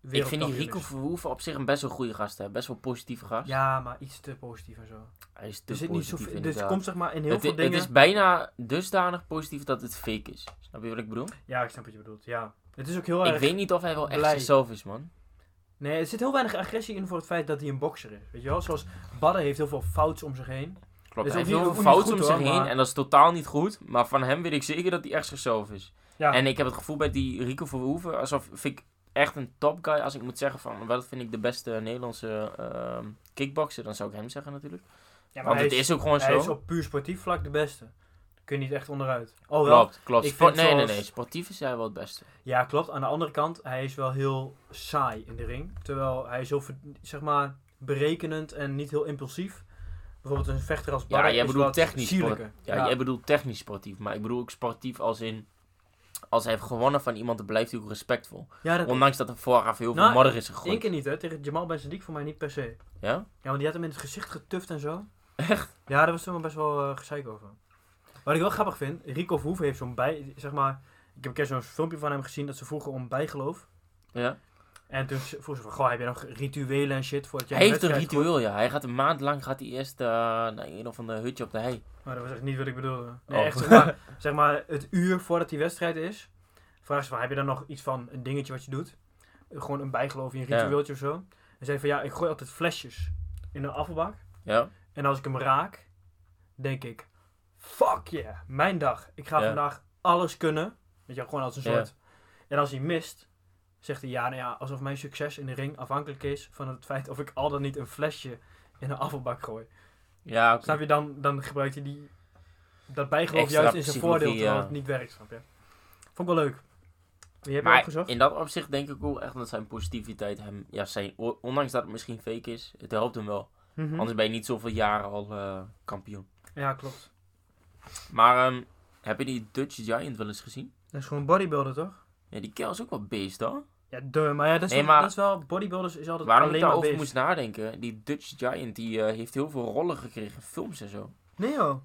S2: Ik vind die
S1: wereldkampioen
S2: Rico
S1: is.
S2: Verhoeven op zich een best wel goede gast. Hè. Best wel positieve gast.
S1: Ja, maar iets te positief en zo.
S2: Hij is te
S1: Er zit niet
S2: positief
S1: zoveel.
S2: in
S1: Dus het komt zeg maar in heel
S2: het, i-
S1: veel
S2: het
S1: dingen.
S2: is bijna dusdanig positief dat het fake is. Snap je wat ik bedoel?
S1: Ja, ik snap wat je bedoelt. Ja. Het is ook heel
S2: Ik
S1: erg.
S2: weet niet of hij wel echt
S1: blij.
S2: zichzelf is, man.
S1: Nee, er zit heel weinig agressie in voor het feit dat hij een bokser is. Weet je wel? Zoals Badden heeft heel veel fouts om zich heen. Dus
S2: Klopt, hij
S1: ook
S2: heeft
S1: niet-
S2: heel
S1: ook
S2: veel
S1: niet
S2: fouten
S1: goed,
S2: om zich
S1: hoor,
S2: heen
S1: maar-
S2: en dat is totaal niet goed. Maar van hem weet ik zeker dat hij echt zichzelf is.
S1: Ja.
S2: En ik heb het gevoel bij die Rico Verhoeven, alsof vind ik echt een top guy. Als ik moet zeggen van, wat vind ik de beste Nederlandse ehm, kickboxer, dan zou ik hem zeggen natuurlijk.
S1: ja, maar
S2: Want
S1: hij
S2: het
S1: is,
S2: is, ook gewoon
S1: hij
S2: zo.
S1: is op puur sportief vlak de beste. Kun je niet echt onderuit. Oh wel.
S2: Klopt, klopt.
S1: Ik
S2: Sport-
S1: vind
S2: nee, nee,
S1: zoals-
S2: nee. Sportief is hij wel het beste.
S1: Ja, klopt. Aan de andere kant, hij is wel heel saai in de ring. Terwijl hij is heel, ver- zeg maar, berekenend en niet heel impulsief. Bijvoorbeeld een vechter als
S2: Ja,
S1: Badden
S2: jij
S1: is
S2: bedoelt
S1: wat
S2: technisch sport.
S1: sierlijker.
S2: Ja, jij bedoelt technisch sportief, maar ik bedoel ook sportief als in... Als hij heeft gewonnen van iemand, dan blijft hij ook respectvol.
S1: Ja, dat
S2: Ondanks dat er vooraf heel veel
S1: Nou,
S2: modder is
S1: één
S2: gegooid.
S1: keer niet, hè. Tegen Jamal Ben Sadiq voor mij niet per se.
S2: Ja?
S1: Ja, want die had hem in het gezicht getuft en zo. Echt? Ja, daar was toen wel best wel eh, gezeik over. Wat ik wel grappig vind, Rico Verhoeven heeft zo'n bij... Zeg maar, ik heb een keer zo'n filmpje van hem gezien dat ze vroegen om bijgeloof.
S2: Ja.
S1: En toen vroegen ze van, goh, heb je nog rituelen en shit voordat jij
S2: Hij heeft een
S1: wedstrijd
S2: ritueel, ja. Hij gaat een maand lang gaat hij eerst eh, naar een of ander hutje op de hei.
S1: Maar dat was echt niet wat ik bedoelde. Nee,
S2: Oh.
S1: echt, zeg maar, (laughs) zeg maar, het uur voordat die wedstrijd is, vragen ze van, heb je dan nog iets van een dingetje wat je doet? Eh, Gewoon een bijgeloof in een
S2: Ja.
S1: ritueeltje of zo. En zei van, ja, ik gooi altijd flesjes in een afvalbak.
S2: Ja.
S1: En als ik hem raak, denk ik, fuck yeah, mijn dag. Ik ga
S2: Ja.
S1: vandaag alles kunnen. Weet je, wel, gewoon als een
S2: Ja.
S1: soort... En als hij mist, zegt hij, ja, nou ja, alsof mijn succes in de ring afhankelijk is van het feit of ik al dan niet een flesje in een afvalbak gooi.
S2: Ja, oké.
S1: Snap je, dan, dan gebruikt hij die, dat bijgeloof
S2: Extra
S1: juist in zijn
S2: psychologie,
S1: voordeel, terwijl
S2: ja.
S1: het niet werkt, snap je? Vond ik wel leuk. Je hebt hem
S2: Maar
S1: opgezocht?
S2: in dat opzicht denk ik ook echt dat zijn positiviteit hem... Ja, zijn, o- ondanks dat het misschien fake is, het helpt hem wel.
S1: Mhm.
S2: Anders ben je niet zoveel jaren al eh, kampioen.
S1: Ja, klopt.
S2: Maar ehm, heb je die Dutch Giant wel eens gezien?
S1: Dat is gewoon bodybuilder, toch?
S2: Ja, die kerel is ook wel beest, hoor.
S1: Ja, duh, maar ja, dat is,
S2: Nee,
S1: wel-
S2: maar-
S1: dat is wel, bodybuilders is altijd
S2: Waarom ik
S1: alleen maar
S2: daarover
S1: beest.
S2: moest nadenken, die Dutch Giant die eh, heeft heel veel rollen gekregen, films en zo.
S1: Nee joh.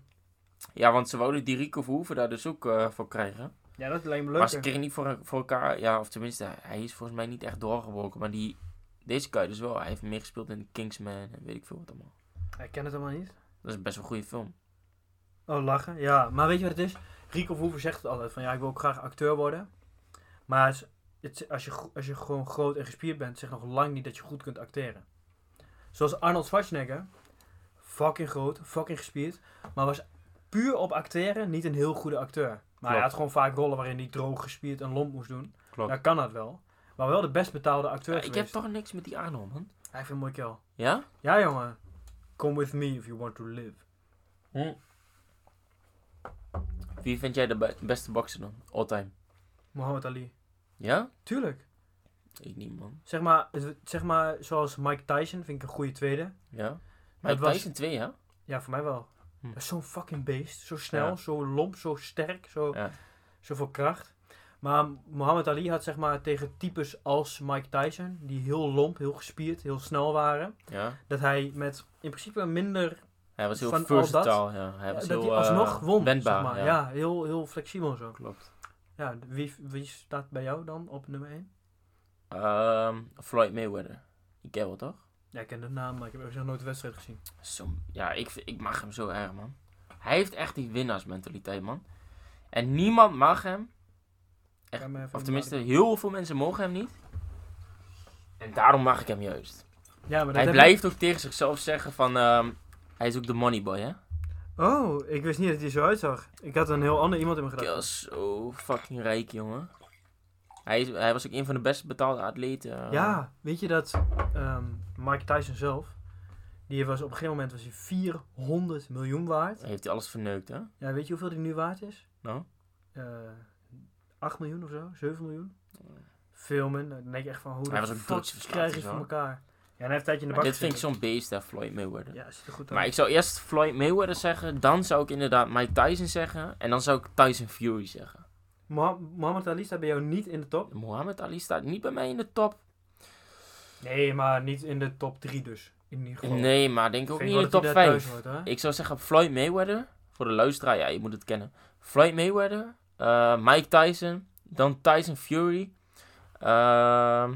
S2: Ja, want ze wouden die Rico Verhoeven daar dus ook eh, voor krijgen.
S1: Ja, dat lijkt me
S2: Maar
S1: leuk.
S2: ze kregen niet voor, voor elkaar, ja, of tenminste, hij is volgens mij niet echt doorgebroken. Maar die, deze guy dus wel, hij heeft meegespeeld in Kingsman en weet ik veel wat allemaal.
S1: Ik ken het allemaal niet.
S2: Dat is best wel een goede film.
S1: Oh, lachen. Ja, maar weet je wat het is? Rico Verhoeven zegt het altijd van ja, ik wil ook graag acteur worden. Maar het, het- als, je, gro- als je gewoon groot en gespierd bent, zegt nog lang niet dat je goed kunt acteren. Zoals Arnold Schwarzenegger. Fucking groot, fucking gespierd. Maar was puur op acteren niet een heel goede acteur. Maar hij
S2: Klopt.
S1: had gewoon vaak rollen waarin hij droog gespierd en lomp moest doen.
S2: Klopt.
S1: Dan kan dat wel. Maar wel de best betaalde acteur
S2: ik heb
S1: geweest.
S2: toch niks met die Arno, man.
S1: Hij heeft een mooi kel.
S2: Ja?
S1: Ja, jongen. Come with me if you want to live.
S2: Wie vind jij de be- beste bokser dan? All time.
S1: Muhammad Ali.
S2: Ja?
S1: Tuurlijk.
S2: Ik niet, man.
S1: Zeg maar, het- zeg maar, zoals Mike Tyson vind ik een goede tweede.
S2: Ja? Maar
S1: was-
S2: Tyson 2, ja?
S1: Ja, voor mij wel.
S2: Hm.
S1: Dat is Zo'n fucking beest. Zo snel,
S2: Ja.
S1: zo lomp, zo sterk, zo,
S2: Ja.
S1: zoveel kracht. Maar Muhammad Ali had zeg maar tegen types als Mike Tyson, die heel lomp, heel gespierd, heel snel waren.
S2: Ja?
S1: Dat hij met in principe minder,
S2: Hij was heel
S1: Van al
S2: versatile, ja. Hij was
S1: dat
S2: heel
S1: hij alsnog
S2: eh,
S1: won.
S2: wendbaar,
S1: zeg maar. ja.
S2: ja.
S1: heel, heel flexibel en zo.
S2: Klopt.
S1: Ja, wie, wie staat bij jou dan op nummer 1?
S2: Ehm, Floyd Mayweather. Ik ken wel, toch?
S1: Ja, ik ken de naam, maar ik heb ook nog nooit de wedstrijd gezien.
S2: Zo, ja, ik, vind- ik mag hem zo erg, man. Hij heeft echt die winnaarsmentaliteit, man. En niemand mag hem. Echt,
S1: Ga maar even
S2: Of tenminste,
S1: maken.
S2: heel veel mensen mogen hem niet. En daarom mag ik hem juist.
S1: Ja, maar dat
S2: Hij
S1: heb
S2: blijft ook tegen zichzelf zeggen van... ehm, hij is ook de moneyboy, hè?
S1: Oh, ik wist niet dat hij zo uitzag. Ik had een heel ander iemand in mijn
S2: Hij
S1: gedachten.
S2: was zo fucking rijk, jongen. Hij, is, hij was ook een van de best betaalde atleten. eh.
S1: Ja, weet je dat ehm, Mike Tyson zelf, die was op een gegeven moment was hij 400 miljoen waard.
S2: Hij Heeft hij alles verneukt, hè?
S1: Ja, weet je hoeveel die nu waard is?
S2: Nou?
S1: Eh 8 miljoen of zo, 7 miljoen. Filmen, dan denk je echt van hoe
S2: Hij
S1: de
S2: was ook
S1: fuck
S2: doodsverslaafd
S1: krijg je
S2: en zo,
S1: voor
S2: hè?
S1: elkaar. Ja, en hij heeft een tijdje in de
S2: Maar
S1: bak
S2: dit vind ik
S1: gezeten.
S2: zo'n beest, hè, Floyd Mayweather.
S1: Ja, zit er goed uit.
S2: Maar ik zou eerst Floyd Mayweather zeggen, dan zou ik inderdaad Mike Tyson zeggen, en dan zou ik Tyson Fury zeggen.
S1: Moha- Muhammad Ali staat bij jou niet in de top?
S2: Mohammed Ali staat niet bij mij in de top.
S1: Nee, maar niet in de top 3 dus. in ieder geval.
S2: Nee, maar denk ook
S1: Vind
S2: niet
S1: wel
S2: in de
S1: dat
S2: top
S1: hij daar thuis
S2: 5.
S1: hoort, hè?
S2: Ik zou zeggen Floyd Mayweather. Voor de luisteraar, ja, je moet het kennen. Floyd Mayweather. eh, Mike Tyson. Dan Tyson Fury. ehm,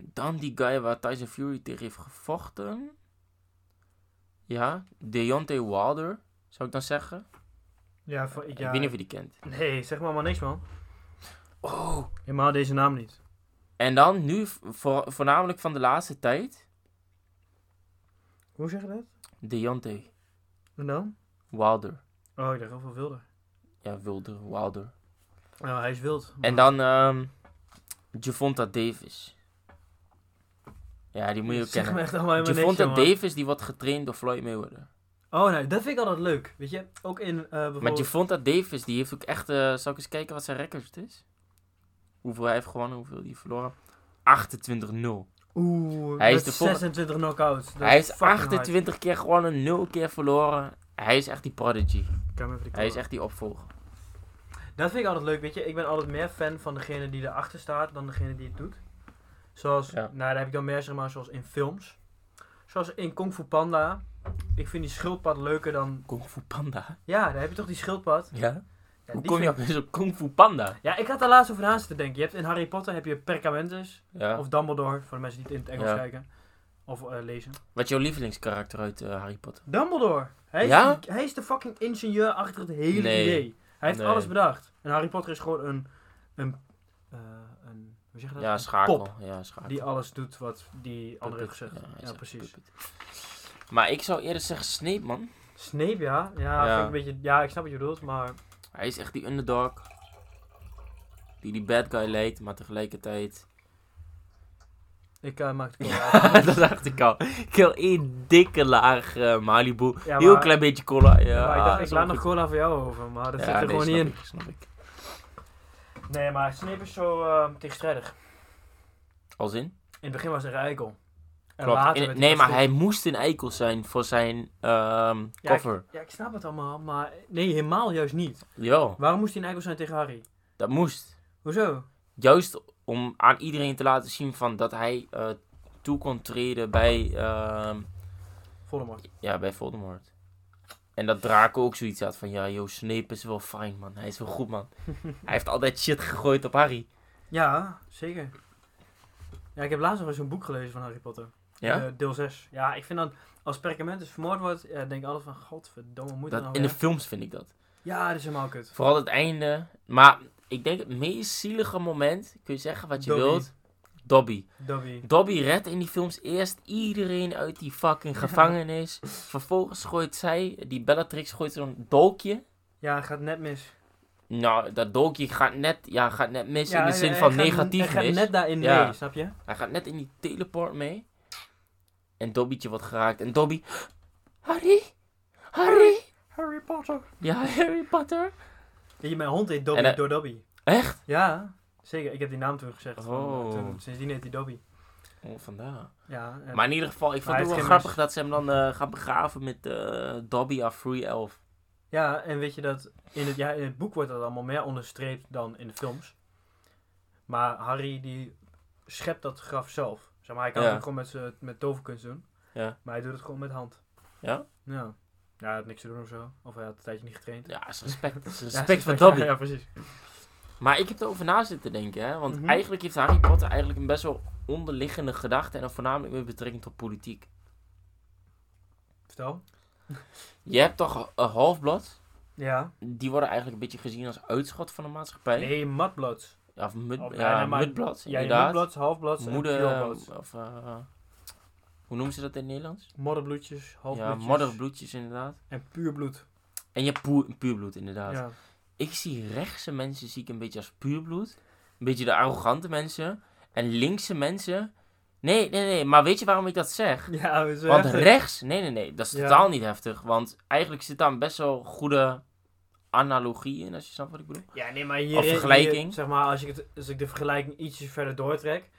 S2: dan die guy waar Tyson Fury tegen heeft gevochten. Ja, Deontay Wilder, zou ik dan zeggen.
S1: Ja, van-
S2: Ik
S1: ja.
S2: weet niet of je die kent.
S1: Nee, zeg maar maar niks, man.
S2: Oh.
S1: Helemaal deze naam niet.
S2: En dan nu, vo- voornamelijk van de laatste tijd,
S1: Hoe zeg je dat?
S2: Deontay
S1: En dan?
S2: Wilder.
S1: Oh, ik dacht heel veel wilder.
S2: Ja, Wilder, Wilder.
S1: Nou, hij is wild.
S2: En dan ehm Javonta Davis. Ja, die moet je ook
S1: Zeg me
S2: kennen.
S1: echt allemaal helemaal niks,
S2: Javonta
S1: jongen.
S2: Davis die wordt getraind door Floyd Mayweather.
S1: Oh, nee, dat vind ik altijd leuk. Weet je, ook in eh
S2: Maar
S1: bijvoorbeeld...
S2: Javonta Davis die heeft ook echt... eh zal ik eens kijken wat zijn record is? Hoeveel hij heeft gewonnen, hoeveel hij heeft verloren. 28-0.
S1: Oeh,
S2: Hij
S1: hij
S2: is
S1: is
S2: de volgende-
S1: 26 knockouts. Dat
S2: Hij heeft
S1: fucking hard.
S2: 28 keer gewonnen, 0 keer verloren. Hij is echt die prodigy.
S1: Ik kan hem even die
S2: Hij is
S1: kleur.
S2: echt die opvolger.
S1: Dat vind ik altijd leuk, weet je. Ik ben altijd meer fan van degene die erachter staat dan degene die het doet. Zoals,
S2: Ja.
S1: nou daar heb ik dan meer zeg maar zoals in films. Zoals in Kung Fu Panda. Ik vind die schildpad leuker dan...
S2: Kung Fu Panda.
S1: Ja, daar heb je toch die schildpad.
S2: Ja?
S1: Ja,
S2: Hoe
S1: die
S2: kom je
S1: vind-
S2: op zo'n Kung Fu Panda?
S1: Ja, ik had daar laatst over naast te denken. Je hebt in Harry Potter heb je Perkamentus.
S2: Ja.
S1: Of Dumbledore, voor de mensen die het in het Engels
S2: Ja.
S1: kijken. Of eh, lezen.
S2: Wat is jouw lievelingskarakter uit eh, Harry Potter?
S1: Dumbledore. Hij is,
S2: Ja?
S1: hij is de fucking ingenieur achter het hele
S2: Nee.
S1: idee. Hij heeft
S2: Nee.
S1: alles bedacht. En Harry Potter is gewoon een... een, eh, een hoe zeg je dat?
S2: Ja,
S1: Een
S2: schakel.
S1: pop
S2: Ja, schakel.
S1: Die alles doet wat die andere heeft
S2: Puppet.
S1: gezegd.
S2: hij
S1: Ja,
S2: zegt
S1: precies.
S2: puppet. Maar ik zou eerder zeggen Snape, man.
S1: Snape, ja. Ja,
S2: Ja.
S1: Vind ik een beetje, ja, ik snap wat je bedoelt, maar...
S2: Hij is echt die underdog. Die die bad guy lijkt, maar
S1: (laughs)
S2: tegelijkertijd... (laughs)
S1: Ik eh, maak het cool.
S2: dat dacht ik al. Ik wil één dikke laag eh, Malibu.
S1: Ja,
S2: Heel
S1: maar-
S2: klein beetje cola. Ja,
S1: maar ik
S2: ah,
S1: dacht,
S2: is
S1: ik
S2: wel
S1: laat nog
S2: goed.
S1: cola voor jou over, maar dat
S2: Ja,
S1: zit er
S2: nee,
S1: gewoon niet
S2: snap
S1: in.
S2: ik, snap ik.
S1: Nee, maar Snape is zo eh, tegenstrijdig.
S2: Als in?
S1: In het begin was hij een eikel. En
S2: Klopt.
S1: later
S2: In-
S1: werd
S2: nee, maar
S1: goed.
S2: hij moest een eikel zijn voor zijn ehm,
S1: Ja, ik-
S2: cover.
S1: Ja, ik snap het allemaal, maar... Nee, helemaal juist niet.
S2: Jawel,
S1: Waarom moest hij een eikel zijn tegen Harry?
S2: dat moest.
S1: Hoezo?
S2: juist om aan iedereen te laten zien van dat hij eh, toe kon treden bij, ehm,
S1: Voldemort.
S2: ja, bij Voldemort. En dat Draco ook zoiets had van, ja, joh, Snape is wel fijn, man. Hij is wel goed,
S1: (laughs)
S2: man. hij heeft altijd shit gegooid op Harry.
S1: Ja, zeker. Ja, ik heb laatst nog eens een boek gelezen van Harry Potter.
S2: Ja?
S1: Eh, deel 6. Ja, ik vind dat als Perkamentus vermoord wordt, ja, denk ik altijd van, godverdomme, moet dat
S2: dat,
S1: nou
S2: in de
S1: weer?
S2: films vind ik dat.
S1: Ja, dat is helemaal kut.
S2: Vooral het einde. Maar ik denk het meest zielige moment, kun je zeggen wat je
S1: Dobby.
S2: wilt, Dobby.
S1: Dobby.
S2: Dobby redt in die films eerst iedereen uit die
S1: (laughs)
S2: fucking gevangenis. Vervolgens gooit zij, die Bellatrix gooit zo'n dolkje
S1: Ja, gaat net mis.
S2: Nou, dat dolkje gaat net, ja, gaat net mis
S1: ja,
S2: in de zin
S1: hij-
S2: van
S1: hij gaat-
S2: negatief
S1: Hij
S2: mis.
S1: gaat net daarin
S2: Ja.
S1: mee, snap je?
S2: Hij gaat net in die teleport mee. En Dobbytje wordt geraakt. En Dobby... Harry? Harry?
S1: Harry Potter.
S2: Ja, (laughs) Harry Potter?
S1: Weet je, mijn hond heet Dobby
S2: En, eh,
S1: door Dobby.
S2: Echt?
S1: Ja, zeker. Ik heb die naam toen gezegd. eh,
S2: Oh.
S1: Toen, sindsdien heet hij Dobby.
S2: Oh, vandaar.
S1: Ja, en-
S2: Maar in ieder geval, ik vond
S1: hij
S2: het wel
S1: heeft geen
S2: grappig dat ze hem dan eh, gaan begraven met eh, Dobby of Free Elf.
S1: ja, en weet je dat... In het, ja, in het boek wordt dat allemaal meer onderstreept dan in de films. Maar Harry, die schept dat graf zelf. Zeg maar, hij kan
S2: Ja.
S1: het ook gewoon met, z'n- met toverkunst doen.
S2: Ja.
S1: Maar hij doet het gewoon met hand.
S2: Ja?
S1: Ja. Ja, hij had niks te doen of zo. Of hij had een tijdje niet getraind.
S2: Ja, is respect. is
S1: (laughs) Ja,
S2: respect voor Dobby.
S1: Ja, precies.
S2: Maar ik heb erover na zitten denken, hè. Want
S1: Mhm.
S2: eigenlijk heeft Harry Potter eigenlijk een best wel onderliggende gedachte. En dan voornamelijk met betrekking tot politiek.
S1: Vertel.
S2: Je hebt toch een halfblad?
S1: Ja.
S2: Die worden eigenlijk een beetje gezien als uitschot van de maatschappij.
S1: Nee, matblads.
S2: Ja, of mud,
S1: Oh, nee,
S2: ja,
S1: nee, maar-
S2: mudblad,
S1: Ja, je
S2: inderdaad.
S1: matblads, halfblads en
S2: Moeder,
S1: pureblads.
S2: of, eh, hoe noemen ze dat in het Nederlands?
S1: Modderbloedjes,
S2: Ja,
S1: halfbloedjes.
S2: modderbloedjes inderdaad.
S1: En puurbloed.
S2: En je hebt puur, puurbloed inderdaad.
S1: Ja.
S2: Ik zie rechtse mensen zie ik een beetje als puurbloed. Een beetje de arrogante mensen. En linkse mensen. Nee, nee, nee. Maar weet je waarom ik dat zeg?
S1: (laughs) Ja, we
S2: Want
S1: zeggen-
S2: rechts, nee, nee, nee, dat is
S1: Ja.
S2: totaal niet heftig. Want eigenlijk zit daar een best wel goede analogie in, als je snapt wat ik bedoel.
S1: Ja, nee, maar hier...
S2: Of vergelijking.
S1: hier- zeg maar, als ik, het, als ik de vergelijking ietsjes verder doortrek...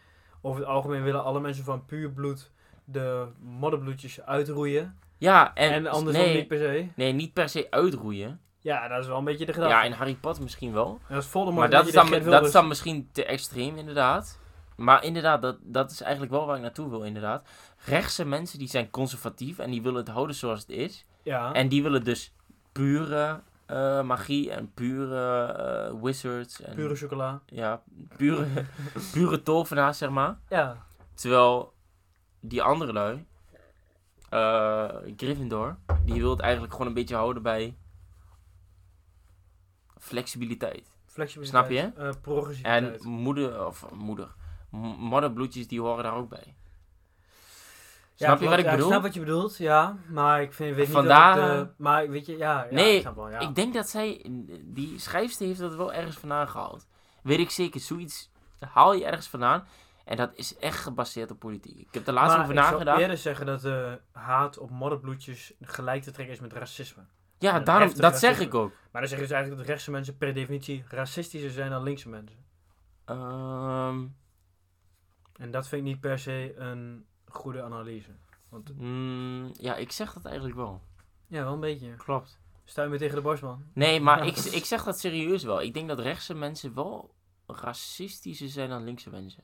S1: Over het algemeen willen alle mensen van puur bloed de modderbloedjes uitroeien.
S2: Ja,
S1: En,
S2: en, dus
S1: andersom
S2: nee,
S1: niet per se.
S2: nee, niet per se uitroeien.
S1: Ja, dat is wel een beetje de gedachte.
S2: Ja, in Harry Potter misschien wel.
S1: En als Voldemort
S2: Maar
S1: een
S2: dat is,
S1: beetje
S2: dan,
S1: de Geert
S2: dat is
S1: Wilders.
S2: dan misschien te extreem, inderdaad. Maar inderdaad, dat, dat is eigenlijk wel waar ik naartoe wil, inderdaad. Rechtse mensen die zijn conservatief en die willen het houden zoals het is.
S1: Ja.
S2: En die willen dus pure eh, magie en pure eh, wizards. En,
S1: Pure chocola.
S2: Ja, (laughs) pure, pure tovenaars, zeg maar.
S1: Ja.
S2: Terwijl die andere lui, eh, Gryffindor, die wil het eigenlijk gewoon een beetje houden bij flexibiliteit.
S1: Flexibiliteit.
S2: Snap je?
S1: eh, progressiviteit.
S2: En moeder, of moeder, m- modderbloedjes, die horen daar ook bij.
S1: Ja,
S2: Snap je
S1: klopt.
S2: wat ik
S1: Ja,
S2: bedoel?
S1: Ik snap wat je bedoelt, ja. Maar ik vind, weet
S2: Vandaar-
S1: niet dat het, eh, Maar weet je, ja. ja,
S2: Nee,
S1: ik, snap wel, ja.
S2: Ik denk dat zij, die schrijfster heeft dat wel ergens vandaan gehaald. Weet ik zeker, zoiets haal je ergens vandaan. En dat is echt gebaseerd op politiek. Ik heb er laatst
S1: Maar
S2: over nagedacht.
S1: Ik zou eerder zeggen dat eh, haat op modderbloedjes gelijk te trekken is met racisme.
S2: Ja,
S1: een
S2: daarom,
S1: heftig
S2: dat zeg
S1: racisme.
S2: ik ook.
S1: Maar dan zeg je dus eigenlijk dat rechtse mensen per definitie racistischer zijn dan linkse mensen.
S2: Ehm,
S1: En dat vind ik niet per se een goede analyse.
S2: mm, ja, ik zeg dat eigenlijk wel.
S1: Ja, wel een beetje.
S2: Klopt.
S1: Stuim je tegen de borst, man.
S2: Nee, maar
S1: (laughs)
S2: ik,
S1: Ja.
S2: ik zeg dat serieus wel. Ik denk dat rechtse mensen wel racistischer zijn dan linkse mensen.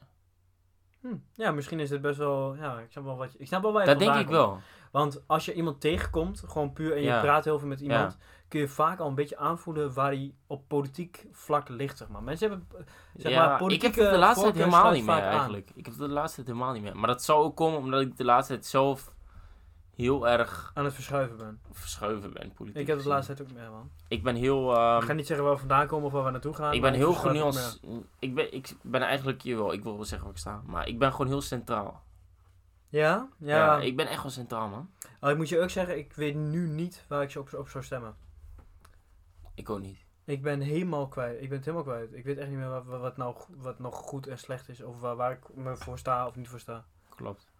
S1: Hm. Ja, misschien is dit best wel... Ja, ik snap wel wat je... Ik snap wel waar je
S2: dat denk
S1: vandaan
S2: ik
S1: komt.
S2: wel.
S1: Want als je iemand tegenkomt, gewoon puur en je
S2: Ja.
S1: praat heel veel met iemand,
S2: Ja.
S1: kun je vaak al een beetje aanvoelen waar hij op politiek vlak ligt. Zeg maar. Mensen hebben. Zeg
S2: ja,
S1: maar,
S2: ik heb
S1: politieke
S2: het de laatste tijd
S1: voorkeur
S2: helemaal
S1: sluit
S2: niet meer
S1: vaak aan.
S2: eigenlijk. Ik heb het de laatste tijd helemaal niet meer. Maar dat zou ook komen omdat ik de laatste tijd zelf heel erg
S1: Aan het verschuiven ben.
S2: verschuven ben politiek.
S1: Ik heb het de
S2: gezien.
S1: laatste tijd ook meer, man.
S2: Ik ben heel... ehm,
S1: ik ga niet zeggen waar we vandaan komen of waar we naartoe gaan.
S2: ik
S1: maar
S2: ben heel
S1: verschuif ook
S2: genuanceerd. Ik ben, ik ben eigenlijk... Jawel, ik wil wel zeggen waar ik sta. Maar ik ben gewoon heel centraal.
S1: meer. Ja? Ja.
S2: Ja, ik ben echt wel centraal, man.
S1: Al, ik moet je ook zeggen, ik weet nu niet waar ik ze op, op zou stemmen.
S2: Ik ook niet.
S1: Ik ben helemaal kwijt. Ik ben het helemaal kwijt. Ik weet echt niet meer wat, wat, nou, go- wat nog goed en slecht is. Of waar, waar ik me voor sta of niet voor sta.
S2: Klopt.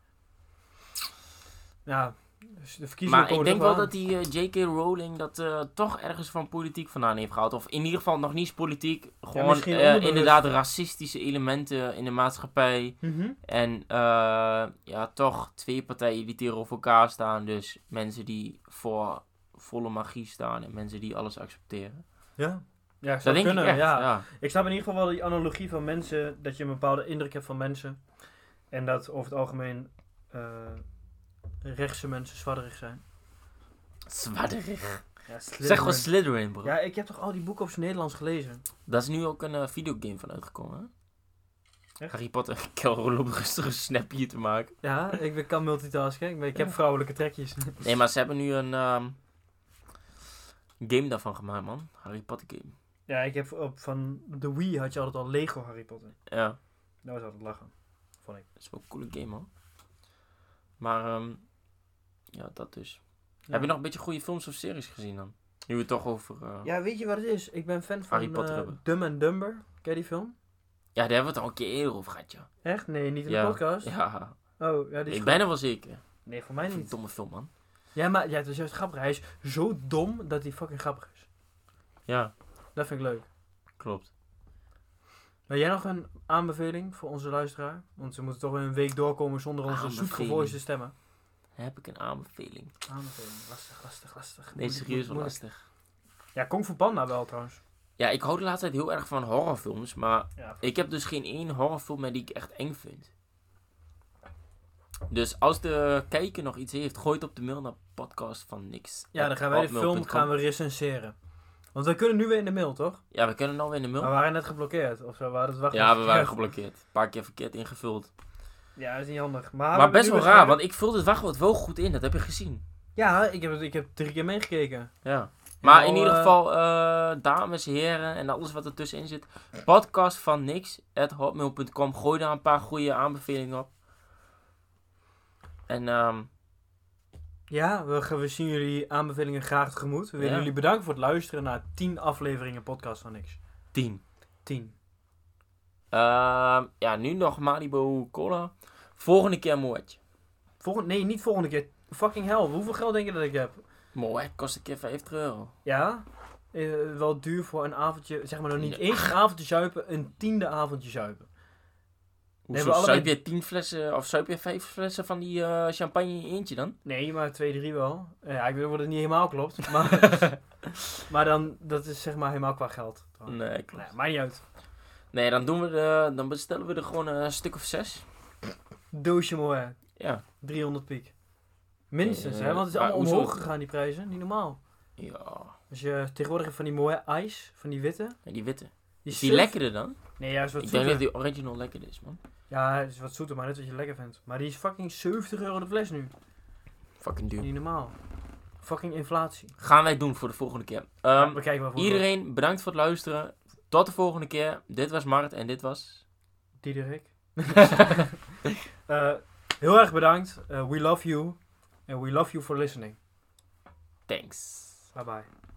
S1: Ja, dus de verkiezingen
S2: Maar
S1: komen
S2: ik denk
S1: toch
S2: wel dat die eh, J.K. Rowling dat eh, toch ergens van politiek vandaan heeft gehaald. Of in ieder geval nog niet eens politiek. Gewoon
S1: misschien
S2: eh,
S1: onbewust.
S2: inderdaad racistische elementen in de maatschappij.
S1: aan. Mhm.
S2: En eh, ja, toch twee partijen die tegenover elkaar staan. Dus mensen die voor volle magie staan en mensen die alles accepteren.
S1: Ja. Ja,
S2: Dat
S1: zou
S2: denk
S1: kunnen,
S2: ik echt,
S1: ja.
S2: ja.
S1: Ik snap in ieder geval wel die analogie van mensen, dat je een bepaalde indruk hebt van mensen. En dat over het algemeen eh, rechtse mensen zwadderig zijn.
S2: Zwadderig.
S1: Ja,
S2: Zeg gewoon Slytherin, bro.
S1: Ja, ik heb toch al die boeken op zijn Nederlands gelezen?
S2: Daar is nu ook een eh, videogame van uitgekomen, hè?
S1: Echt?
S2: Harry Potter, (laughs) Kelrol om rustig een snapje te maken.
S1: Ja, ik ben- kan multitasken, maar ik heb
S2: Ja.
S1: vrouwelijke trekjes. (laughs)
S2: Nee, maar ze hebben nu een ehm, game daarvan gemaakt, man. Harry Potter game.
S1: Ja, ik heb op, van de Wii had je altijd al Lego Harry Potter.
S2: Ja,
S1: Dat was altijd lachen, vond ik.
S2: dat is wel een coole game, man. Maar, ehm, ja, dat dus.
S1: Ja.
S2: Heb je nog een beetje goede films of series gezien dan? Nu we het toch over... eh, Ja.
S1: Ja, weet je wat het is? Ik ben fan van
S2: Harry Potter
S1: eh,
S2: hebben.
S1: Dumb and Dumber. Ken je die film?
S2: daar hebben we het al een keer eerder over gehad, ja.
S1: Echt? Nee, niet in
S2: Ja.
S1: de podcast.
S2: Ja,
S1: Oh, ja, die is
S2: ik
S1: goed.
S2: ben er wel zeker.
S1: Nee, voor mij
S2: Een
S1: niet.
S2: domme film, man.
S1: Ja, maar ja, het is juist grappig. Hij is zo dom dat hij fucking grappig is.
S2: Ja,
S1: Dat vind ik leuk.
S2: klopt.
S1: Wil jij nog een aanbeveling voor onze luisteraar? Want ze moeten toch weer een week doorkomen zonder onze
S2: Aanbeveling.
S1: zoetgevoelige stemmen.
S2: Dan heb ik een aanbeveling.
S1: Aanbeveling. Lastig, lastig, lastig.
S2: Nee,
S1: Moeilijk,
S2: serieus
S1: moeilijk, moeilijk.
S2: wel lastig.
S1: Ja, Kung Fu Panda wel trouwens.
S2: Ja, ik hou de laatste tijd heel erg van horrorfilms, maar
S1: Ja.
S2: Ik heb dus geen één horrorfilm meer die ik echt eng vind. Dus als de kijker nog iets heeft, gooi het op de mail naar podcast van niks.
S1: Ja, dan gaan wij de film gaan we recenseren. Want we kunnen nu weer in de mail, toch?
S2: Ja, we kunnen alweer in de
S1: We Nou,
S2: mail.
S1: waren net geblokkeerd. Of zo, we hadden het wachten.
S2: Ja, we
S1: (laughs)
S2: waren geblokkeerd. Een paar keer verkeerd ingevuld.
S1: Ja, dat is niet handig. Maar, we
S2: maar
S1: hebben
S2: best
S1: nu
S2: wel
S1: weer-
S2: raar, want ik vulde het wachtwoord wel goed in. Dat heb je gezien.
S1: Ja, ik heb, het- ik heb drie keer meegekeken.
S2: Ja. Maar
S1: al,
S2: in ieder
S1: eh,
S2: geval, eh, dames, heren en alles wat ertussenin zit. Podcast van niks. At hotmail.com. Gooi daar een paar goede aanbevelingen op. En ehm,
S1: Ja, we, ge- we zien jullie aanbevelingen graag tegemoet. We willen
S2: Ja.
S1: jullie bedanken voor het luisteren naar 10 afleveringen podcast van niks.
S2: tien.
S1: 10.
S2: Ehm, ja, nu nog Malibu Cola. Volgende keer Moet.
S1: Volgende, nee, niet volgende keer. Fucking hell, hoeveel geld denk je dat ik heb?
S2: Moet kost een keer 50 euro.
S1: Ja? Eh, wel duur voor een avondje, zeg maar nog niet
S2: Nee.
S1: één avondje zuipen, een tiende avondje zuipen.
S2: Hoezo,
S1: we allebei-
S2: Zuip je 10 flessen of zuip je 5 flessen van die eh, champagne in je eentje dan?
S1: Nee, maar twee, drie wel. Eh, Ja, ik weet wel dat het niet helemaal (laughs) klopt. Maar, maar dan, dat is zeg maar helemaal qua geld.
S2: Nee,
S1: Nee,
S2: klopt.
S1: maakt niet uit.
S2: Nee, dan, doen we de- dan bestellen we er gewoon een stuk of zes.
S1: Doosje Moët,
S2: Ja.
S1: 300 piek. Minstens,
S2: Eh,
S1: hè? Want het is
S2: maar
S1: allemaal
S2: hoezo?
S1: omhoog gegaan, die prijzen. Niet normaal.
S2: Ja.
S1: Als je tegenwoordig hebt van die mooie ijs, van die witte.
S2: En die witte.
S1: Die
S2: Is die
S1: surf-
S2: lekkerder dan?
S1: Nee, ja, is wat
S2: Ik denk
S1: zoeter.
S2: dat die original lekkerder is, man.
S1: Ja, het is wat zoeter, maar net wat je lekker vindt. Maar die is fucking 70 euro de fles nu.
S2: Fucking duur.
S1: Niet normaal. Fucking inflatie.
S2: Gaan wij doen voor de volgende keer.
S1: Ja,
S2: Ehm,
S1: we kijken wel voor.
S2: iedereen, bedankt voor het luisteren. Tot de volgende keer. Dit was Mart en dit was...
S1: Diederik. (laughs) Eh, heel erg bedankt. Eh, we love you. En we love you for listening.
S2: Thanks.
S1: Bye bye.